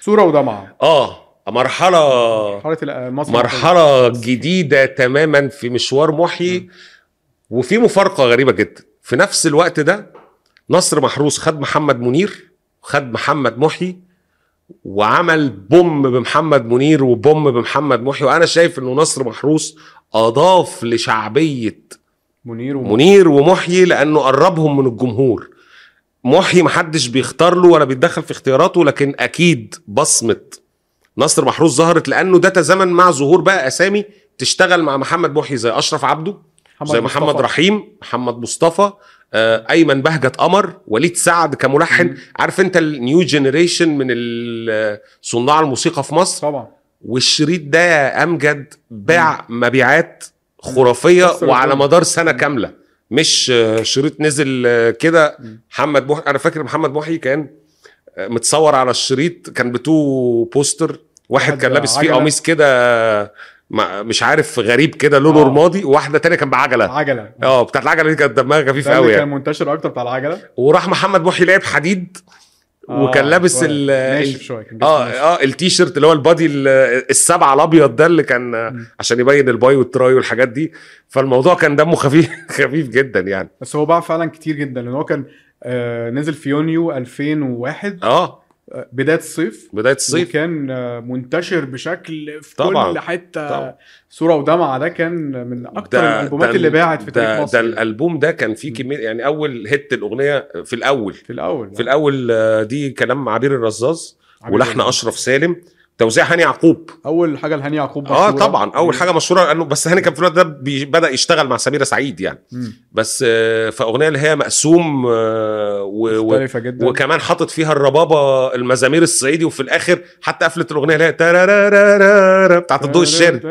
صوره ودمعه اه مرحله مرحله المسرح مرحله جديده تماما في مشوار محيي وفي مفارقه غريبه جدا في نفس الوقت ده نصر محروس خد محمد منير خد محمد محيي وعمل بوم بمحمد منير وبوم بمحمد محيي وانا شايف انه نصر محروس اضاف لشعبيه منير وم... منير ومحيي لانه قربهم من الجمهور محيي محدش بيختار له ولا بيتدخل في اختياراته لكن اكيد بصمه نصر محروس ظهرت لانه ده تزامن مع ظهور بقى اسامي تشتغل مع محمد محيي زي اشرف عبده محمد زي محمد مصطفى. رحيم محمد مصطفى آه، ايمن بهجت قمر وليد سعد كملحن عارف انت النيو جينيريشن من ال- آه، صناع الموسيقى في مصر طبعا والشريط ده يا امجد باع مبيعات خرافيه كسر وعلى الدنيا. مدار سنه كامله مش آه، شريط نزل آه، كده مم. محمد محي انا فاكر محمد محي كان آه، متصور على الشريط كان بتو بوستر واحد واحد كان لابس فيه بعجلة. قميص كده آه، مع- مش عارف غريب كده لونه آه. رمادي وواحده تانية كان بعجله عجله اه بتاعت العجله دي كانت دمها خفيف ده قوي اللي يعني كان منتشر اكتر بتاع العجله وراح محمد محي لعب حديد آه، وكان لابس شوية. ال- ناشف ال شويه كان جسمه اه ناشف. اه التيشيرت اللي هو البادي ال- السبعه الابيض ده اللي كان آه، مم. عشان يبين الباي والتراي والحاجات دي فالموضوع كان دمه خفيف خفيف جدا يعني بس هو باع فعلا كتير جدا لان هو كان آه نزل في يونيو 2001 اه آه، بدايه الصيف بدايه الصيف وكان آه، منتشر بشكل في طبعاً. كل حته طبعاً. صوره ودمعه ده كان من اكتر ده- الالبومات ده آه، اللي ال- باعت في تاريخ ده, ده مصر يعني. الالبوم ده كان فيه مم. كميه يعني اول هيت الاغنيه في الاول في الاول في الاول آه، دي كلام عبير الرزاز نعم. عبير ولحن الرزاز. اشرف سالم توزيع هاني يعقوب آه، اول حاجه لهاني يعقوب اه مشهورة. طبعا اول حاجه مشهوره لانه بس هاني كان في الوقت ده بي- بدا يشتغل مع سميره سعيد يعني مم. بس آه، في اغنيه اللي هي مقسوم آه، و- و- مختلفه جدا وكمان حاطط فيها الربابه المزامير الصعيدي وفي الاخر حتى قفلت الاغنيه اللي هي تارارارارا بتاعت الضوء الشارد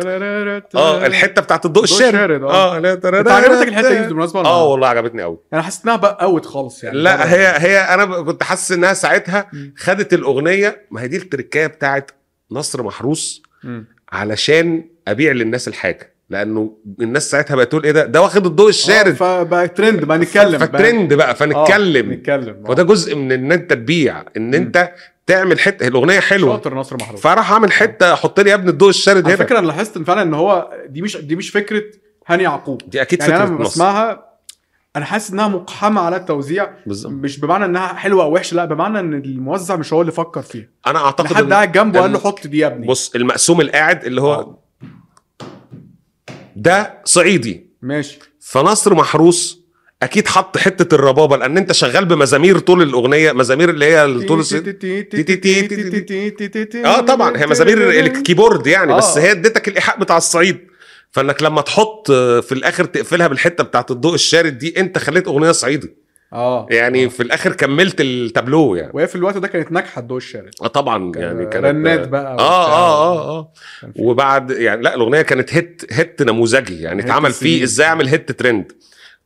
اه الحته بتاعت الضوء الضوء الشارد الشارد، آه. اه اللي هي انت تارارارا. عجبتك الحته دي بالمناسبه ولا اه لا؟ والله عجبتني قوي انا حسيت انها بقى اوت خالص يعني لا بره. هي هي انا ب- كنت حاسس انها ساعتها مم. خدت الاغنيه ما هي دي التركايه بتاعت نصر محروس مم. علشان ابيع للناس الحاجه لانه الناس ساعتها بقت تقول ايه ده ده واخد الضوء الشارد آه، فبقى ترند بقى نتكلم بقى. فترند بقى آه، فنتكلم نتكلم وده جزء من ان انت تبيع ان انت تعمل حته الاغنيه حلوه شاطر نصر محروس فراح اعمل حته حط لي يا ابني الضوء الشارد على هنا فكره انا لاحظت إن فعلا ان هو دي مش دي مش فكره هاني يعقوب دي اكيد يعني فكره انا لما مصر بسمعها انا حاسس انها مقحمه على التوزيع بالظبط مش بمعنى انها حلوه او وحشه لا بمعنى ان الموزع مش هو اللي فكر فيها انا اعتقد حد إن- قاعد جنبه قال له إن- حط دي يا ابني بص المقسوم القاعد اللي هو آه. ده صعيدي ماشي فنصر محروس اكيد حط حته الربابه لان انت شغال بمزامير طول الاغنيه مزامير اللي هي طول الصعيد اه طبعا هي مزامير الكيبورد يعني بس آه. هي اديتك الايحاء بتاع الصعيد فانك لما تحط آه، في الاخر تقفلها بالحته بتاعت الضوء الشارد دي انت خليت اغنيه صعيدي اه يعني في الاخر كملت التابلو يعني وهي في الوقت ده كانت ناجحه الضوء الشارد آه، طبعا يعني كانت رنات بقى اه وبتاع. اه اه اه كان في- وبعد يعني لا الاغنيه كانت هيت هيت نموذجي يعني هيت اتعمل السنين. فيه ازاي اعمل هيت ترند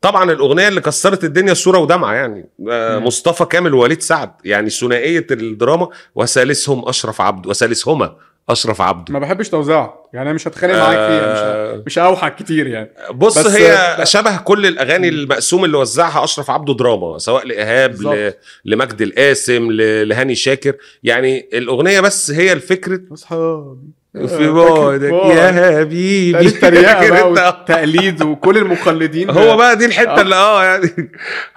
طبعا الاغنيه اللي كسرت الدنيا صوره ودمعه يعني آه، مم. مصطفى كامل ووليد سعد يعني ثنائيه الدراما وثالثهم اشرف عبده وثالثهما اشرف عبده ما بحبش توزيعها يعني انا مش هتخانق معاك فيها مش ه- آه، مش هوحك كتير يعني بص بس- هي شبه كل الاغاني مم. المقسوم اللي وزعها اشرف عبده دراما سواء لايهاب ل- بالظبط. لمجد القاسم ل- لهاني شاكر يعني الاغنيه بس هي الفكره اصحابي في آه، بعدك فاكر يا ده حبيبي التريقه فاكر بقى انت؟ والتقليد وكل المقلدين هو بقى دي الحته آه. اللي اه يعني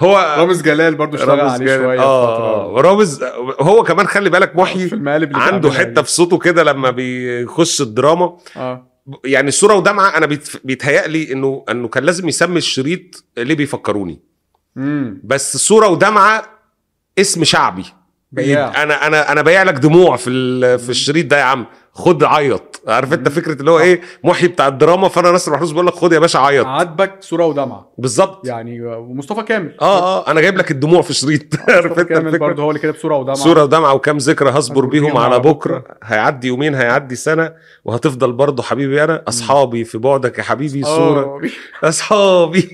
هو رامز جلال برضو اشتغل عليه جامد. شويه فترة. اه رامز هو كمان خلي بالك محيي في المقالب اللي عنده بيعملها حته دي. في صوته كده لما بيخش الدراما اه يعني صوره ودمعه انا بيت- بيتهيألي انه انه كان لازم يسمي الشريط ليه بيفكروني امم بس صوره ودمعه اسم شعبي إيه، بياع انا انا انا بايع لك دموع في ال- في الشريط ده يا عم خد عيط عارف انت فكره اللي هو ايه محيي بتاع الدراما فانا ناصر محروس بقول لك خد يا باشا عيط آه. عاتبك صوره ودمعه بالظبط يعني ومصطفى كامل اه اه انا جايب لك الدموع في شريط عارف مصطفى انت كامل الفكره برضه هو اللي كده بصوره ودمعه صورة ودمعة وكم ذكرى هصبر هصبر بيهم بيهم على على بكرة هيعدي يومين هيعدي سنة وهتفضل برضه حبيبي أنا أصحابي في بعدك يا حبيبي آه، صورة أصحابي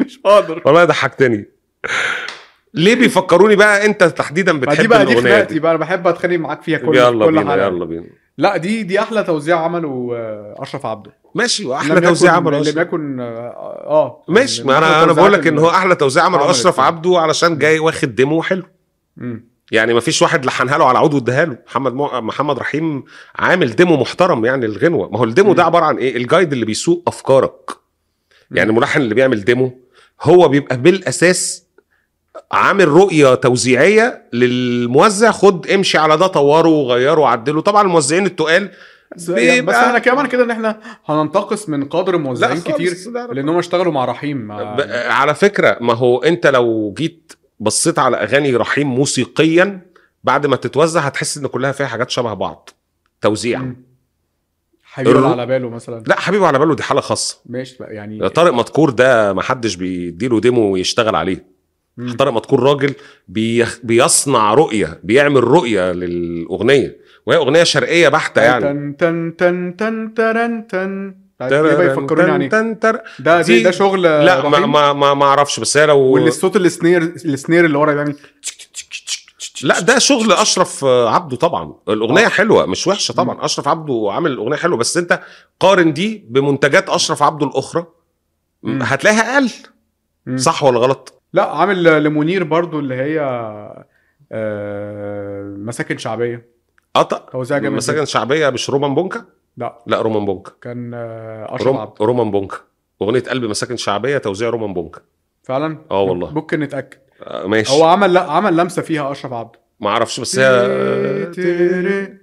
مش قادر والله ضحكتني ليه بيفكروني بقى أنت تحديدا ما دي بتحب بقى دي الأغنية خناقتي دي بقى انا بحب اتخانق معاك فيها كل يلا كل بينا حلقة. يلا بينا لا دي دي احلى توزيع عمله آه، اشرف عبده ماشي لم وأحلى يكن- توزيع عمل لم أشرف. يكن اه آه. ماشي من ما أحلى أنا أنا التوزيعات بقول لك إن اللي- هو أحلى توزيع عمل عملت أشرف يعني. عبده علشان جاي واخد ديمو حلو مم. يعني ما فيش واحد لحنها له على عود واداها له محمد مو... محمد رحيم عامل ديمو محترم يعني الغنوه ما هو الديمو مم. ده عباره عن ايه الجايد اللي بيسوق افكارك يعني مم. الملحن اللي بيعمل ديمو هو بيبقى بالاساس عامل رؤيه توزيعيه للموزع خد امشي على ده طوره وغيره وعدله طبعا الموزعين التقال بس, يعني بس بيبقى- احنا كمان كده ان احنا هننتقص من قدر موزعين خالص، كتير لا، لا. لان هم اشتغلوا مع رحيم مع ب- على فكره ما هو انت لو جيت بصيت على اغاني رحيم موسيقيا بعد ما تتوزع هتحس ان كلها فيها حاجات شبه بعض توزيع مم. حبيبي يعني. الرو- على باله مثلا لا حبيبي على باله دي حاله خاصه ماشي بقى يعني طارق مدكور ده ما حدش بيديله ديمو يشتغل عليه مم. طارق مدكور راجل بيخ... بيصنع رؤيه بيعمل رؤيه للاغنيه وهي اغنيه شرقيه بحته يعني تن تن تن تن ترن تن يبقى يفكروني يعني تن- تن- تر- ده دي- ده شغل لا ما رحيم؟ ما ما- ما اعرفش بس هي لو واللي الصوت السنير السنير اللي ورا يعني لا ده شغل اشرف عبده طبعا آه. الاغنيه حلوه مش وحشه طبعا اشرف عبده عامل الاغنيه حلوه بس انت قارن دي بمنتجات اشرف عبده الاخرى مم. هتلاقيها اقل مم. صح ولا غلط لا عامل لمنير برضو اللي هي آه، مساكن شعبيه قطع توزيع جامد مساكن شعبيه مش رومان بونكا لا لا رومان بونكا كان آه، اشرف روم عبد رومان بونكا اغنيه قلب مساكن شعبيه توزيع رومان بونكا فعلا اه والله ممكن نتاكد آه، ماشي هو عمل لا عمل لمسه فيها اشرف عبد ما اعرفش بس هي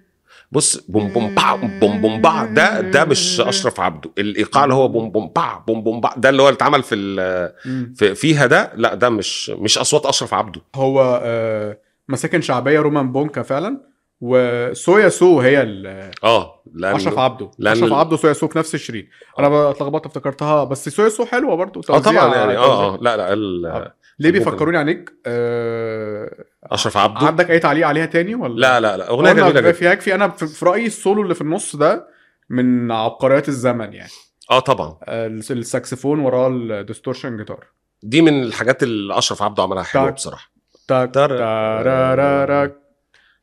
بص بوم بوم با بوم بوم با ده ده مش اشرف عبده الايقاع اللي هو بوم بوم با بوم بوم با ده اللي هو اللي اتعمل في ال- مم. في فيها ده لا ده مش مش اصوات اشرف عبده هو آه، مساكن شعبيه رومان بونكا فعلا وسويا سو هي ال- اه لأن اشرف عبده لأن- اشرف عبده وسويا سو في نفس الشريط انا اتلخبطت افتكرتها بس سويا سو حلوه برضو اه توزيع- طبعا آه. يعني توزيع. اه اه لا لا ال- آه. ليه ممكن. بيفكروني عليك آه... اشرف عبده عندك اي تعليق عليها تاني ولا لا لا لا اغنيه قلنا جميله جدا في يكفي انا في في رايي السولو اللي في النص ده من عبقريات الزمن يعني اه طبعا آه، الساكسفون وراه الديستورشن جيتار دي من الحاجات اللي اشرف عبده عملها حلوه طيب. بصراحه تاك تر- تارارارك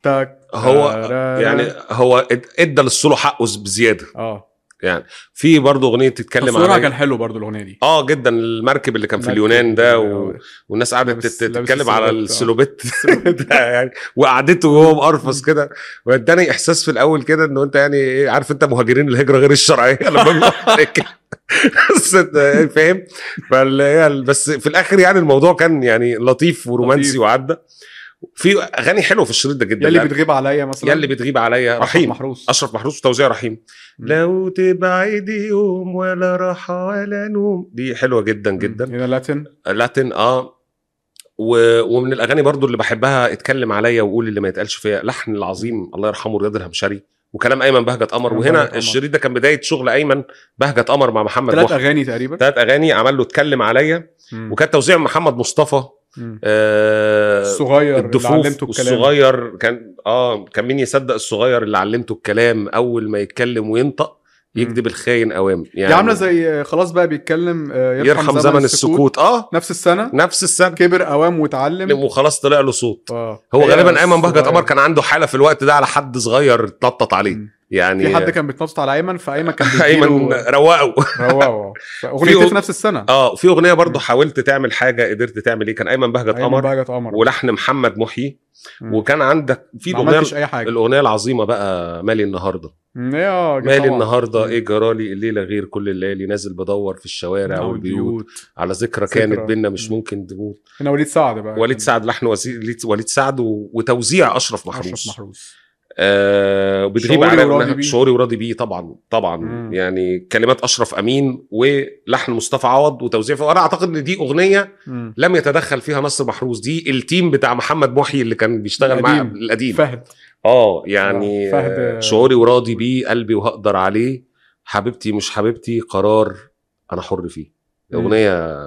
تاك هو تارارارك. يعني هو اد- ادى للسولو حقه ز- بزياده اه في برضه اغنيه تتكلم تصويرها كان عن حلو برضو الاغنيه دي اه جدا المركب اللي كان في اليونان ده و... والناس قعدت لابس- تت- لابس تتكلم على أيوة. السلوبيت. آه. السلوبيت ده يعني وقعدته وهو مقرفص كده واداني احساس في الاول كده انه انت يعني ايه عارف انت مهاجرين الهجره غير الشرعيه لما بيقعد عليك. بس أنت فاهم فال- هي- بس في الاخر يعني الموضوع كان يعني لطيف ورومانسي لطيف. وعدى في اغاني حلوه في الشريط ده جدا يلي يعني بتغيب عليا مثلا يلي بتغيب عليا أشرف رحيم محروس اشرف محروس وتوزيع رحيم مم. لو تبعدي يوم ولا راحه ولا نوم دي حلوه جدا جدا هنا إيه لاتن لاتن اه و... ومن الاغاني برضو اللي بحبها اتكلم عليا وقول اللي ما يتقالش فيا لحن العظيم الله يرحمه رياض الهمشري وكلام ايمن بهجت قمر كلام بهجت وهنا قمر. الشريط ده كان بدايه شغل ايمن بهجت قمر مع محمد ثلاث محمد اغاني تقريبا ثلاث اغاني عمل له اتكلم عليا مم. وكان توزيع محمد مصطفى مم. آه الصغير اللي الدفوف علمته الكلام والصغير كان اه كان مين يصدق الصغير اللي علمته الكلام اول ما يتكلم وينطق يكذب الخاين اوام يعني دي عامله زي خلاص بقى بيتكلم آه، يرحم, زمن, السكوت اه نفس السنه نفس السنه كبر اوام واتعلم وخلاص طلع له صوت آه. هو هي غالبا ايمن الصغير. بهجت قمر كان عنده حاله في الوقت ده على حد صغير اتنطط عليه مم. يعني في حد كان بيتنطط على ايمن فايمن كان ايمن بيديله روقه روعه اغنيه في- في نفس السنه اه في اغنيه برضه مم. حاولت تعمل حاجه قدرت تعمل ايه كان ايمن بهجت أيمن قمر بهجت قمر ولحن محمد محيي مم. وكان عندك في ما الاغنيه عملتش اي حاجه الاغنيه العظيمه بقى مالي النهارده مم، يا جماعة. مالي النهارده مم. ايه جرالي الليله غير كل الليالي نازل بدور في الشوارع أو والبيوت البيوت. على ذكرى نعم. ذكرى. كانت بينا مش مم. طيب. ممكن تموت هنا وليد سعد بقى وليد كان- سعد لحن وزي- وليد سعد و- وتوزيع اشرف اشرف محروس محروس آه وبتغيب شعوري على وراضي بيه. إنها- شعوري وراضي بيه طبعا طبعا مم. مم. يعني كلمات اشرف امين ولحن مصطفى عوض وتوزيع ف- وانا اعتقد ان دي اغنيه مم. لم يتدخل فيها نصر محروس دي التيم بتاع محمد محي اللي كان بيشتغل معاه القديم. القديم فهد اه يعني آه، فهد- آه، شعوري وراضي بيه قلبي وهقدر عليه حبيبتي مش حبيبتي قرار انا حر فيه مم. اغنيه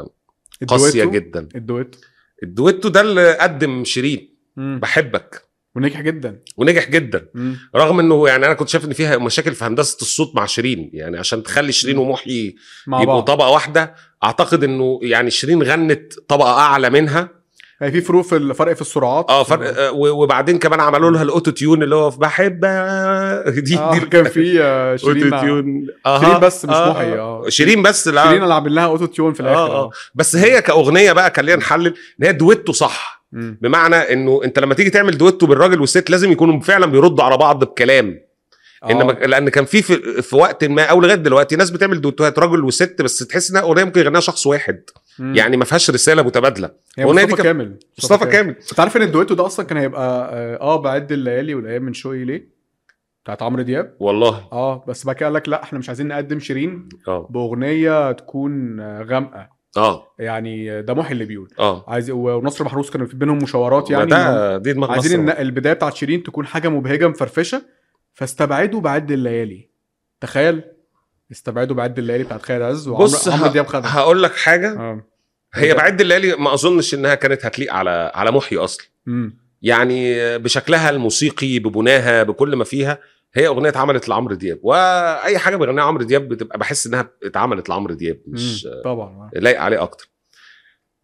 قاسيه الدويتو- جدا الدويتو الدويتو ده اللي قدم شيرين مم. بحبك ونجح جدا ونجح جدا مم. رغم انه يعني انا كنت شايف ان فيها مشاكل في هندسه الصوت مع شيرين يعني عشان تخلي شيرين ومحيي مع يبقوا بعض طبقه واحده اعتقد انه يعني شيرين غنت طبقه اعلى منها يعني في فروق في الفرق في السرعات اه فرق آه، و- وبعدين كمان عملوا لها الاوتو تيون اللي هو في بحب آه، دي آه، دي كان في آه، شيرين اوتو مع- تيون آه، شيرين بس مش محي اه شيرين بس شيرين لا اللي عامل لها اوتو تيون في آه، الاخر آه. بس هي كاغنيه بقى خلينا نحلل ان هي دويتو صح مم. بمعنى انه انت لما تيجي تعمل دويتو بالراجل والست لازم يكونوا فعلا بيردوا على بعض بكلام آه. انما لان كان في في, في وقت ما او لغايه دلوقتي ناس بتعمل دويتوهات راجل وست بس تحس انها اغنيه ممكن يغنيها شخص واحد مم. يعني ما فيهاش رساله متبادله هي الأغنية مصطفى دي كان- كامل مصطفى كامل انت عارف ان الدويتو ده اصلا كان هيبقى اه آه، بعد الليالي والايام من شوقي ليه بتاعت عمرو دياب والله اه بس بعد كده قال لك لا احنا مش عايزين نقدم شيرين اه باغنيه تكون آه، غامقه اه يعني ده محي اللي بيقول اه عايز و- ونصر محروس كانوا في بينهم مشاورات يعني إنهم ده دي دماغ عايزين مصر الن- البدايه بتاعت شيرين تكون حاجه مبهجه مفرفشه فاستبعدوا بعد الليالي تخيل استبعدوا بعد الليالي بتاعت خالد عز بص وعمرو ه... عمرو دياب خدها هقول لك حاجه اه هي بعد الليالي ما اظنش انها كانت هتليق على على محيي اصلا امم يعني بشكلها الموسيقي ببناها بكل ما فيها هي اغنيه اتعملت لعمرو دياب واي حاجه بيغنيها عمرو دياب بتبقى بحس انها اتعملت لعمرو دياب مش مم. طبعا لايق عليه اكتر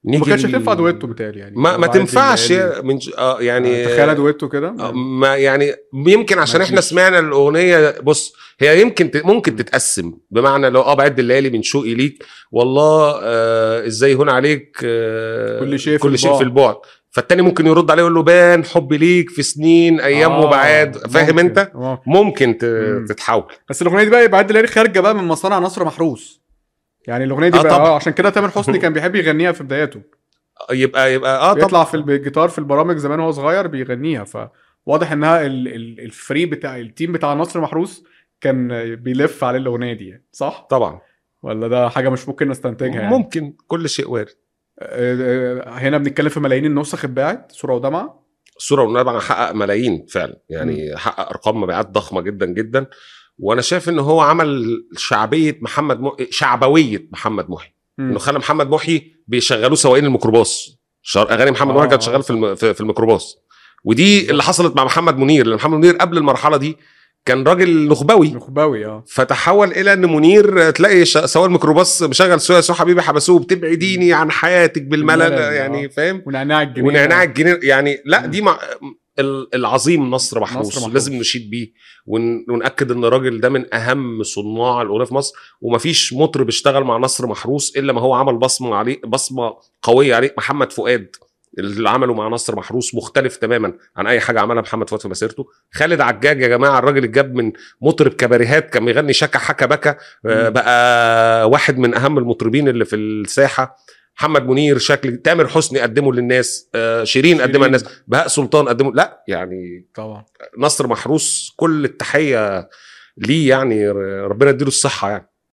نيجي ما كانش ل- هتنفع دويتو بتهيألي يعني ما, ما بعد تنفعش الليالي. من ج- آه يعني تخيل دويتو كده آه ما يعني يمكن عشان ما احنا فيش. سمعنا الاغنيه بص هي يمكن ت- ممكن تتقسم بمعنى لو اه بعد الليالي من شوقي ليك والله آه ازاي هون عليك آه كل شيء في كل شيء في البعد. البعد فالتاني ممكن يرد عليه يقول له بان حبي ليك في سنين ايام آه، وبعاد فاهم ممكن. انت اه ممكن ت- مم. تتحول بس الاغنيه دي بقى يبقى عد لاري خارجه بقى من مصانع نصر محروس يعني الاغنيه دي آه بقى طبعا. آه عشان كده تامر حسني كان بيحب يغنيها في بداياته يبقى يبقى اه طب بيطلع في الجيتار في البرامج زمان وهو صغير بيغنيها فواضح انها ال- ال- الفري بتاع التيم بتاع نصر محروس كان بيلف على الاغنيه دي يعني، صح طبعا ولا ده حاجه مش ممكن نستنتجها يعني ممكن كل شيء وارد آه، آه، هنا بنتكلم في ملايين النسخ اتباعت صوره ودمعه الصوره والمبيع حقق ملايين فعلا يعني حقق ارقام مبيعات ضخمه جدا جدا وانا شايف ان هو عمل شعبيه محمد محي شعبويه محمد محي مم. انه خلى محمد محي بيشغلوه سواقين الميكروباص شر- اغاني محمد آه، محي كانت آه، شغال في الم... في في الميكروباص ودي اللي حصلت مع محمد منير لان محمد منير قبل المرحله دي كان راجل نخبوي نخباوي اه فتحول الى ان منير تلاقي ش- سواق الميكروباص مشغل سوا سوا حبيبي حبسوه بتبعديني عن حياتك بالملل بالملل، آه. يعني فاهم ونعناع الجنيه ونعناع الجنيه يعني لا مم. دي مع ال- العظيم نصر محروس, نصر نصر محروس. محروس. لازم نشيد بيه ون- وناكد ان الراجل ده من اهم صناع الاغنيه في مصر ومفيش مطرب اشتغل مع نصر محروس الا ما هو عمل بصمه عليه بصمه قويه عليه محمد فؤاد اللي عمله مع نصر محروس مختلف تماما عن اي حاجه عملها محمد فؤاد في مسيرته خالد عجاج يا جماعه الراجل اللي جاب من مطرب كباريهات كان بيغني شكا حكا بكا آه، مم. بقى واحد من اهم المطربين اللي في الساحه محمد منير شكل تامر حسني قدمه للناس آه، شيرين شيرين. قدمها للناس بهاء سلطان قدمه لا يعني طبعا نصر محروس كل التحيه ليه يعني ر- ربنا يديله الصحه يعني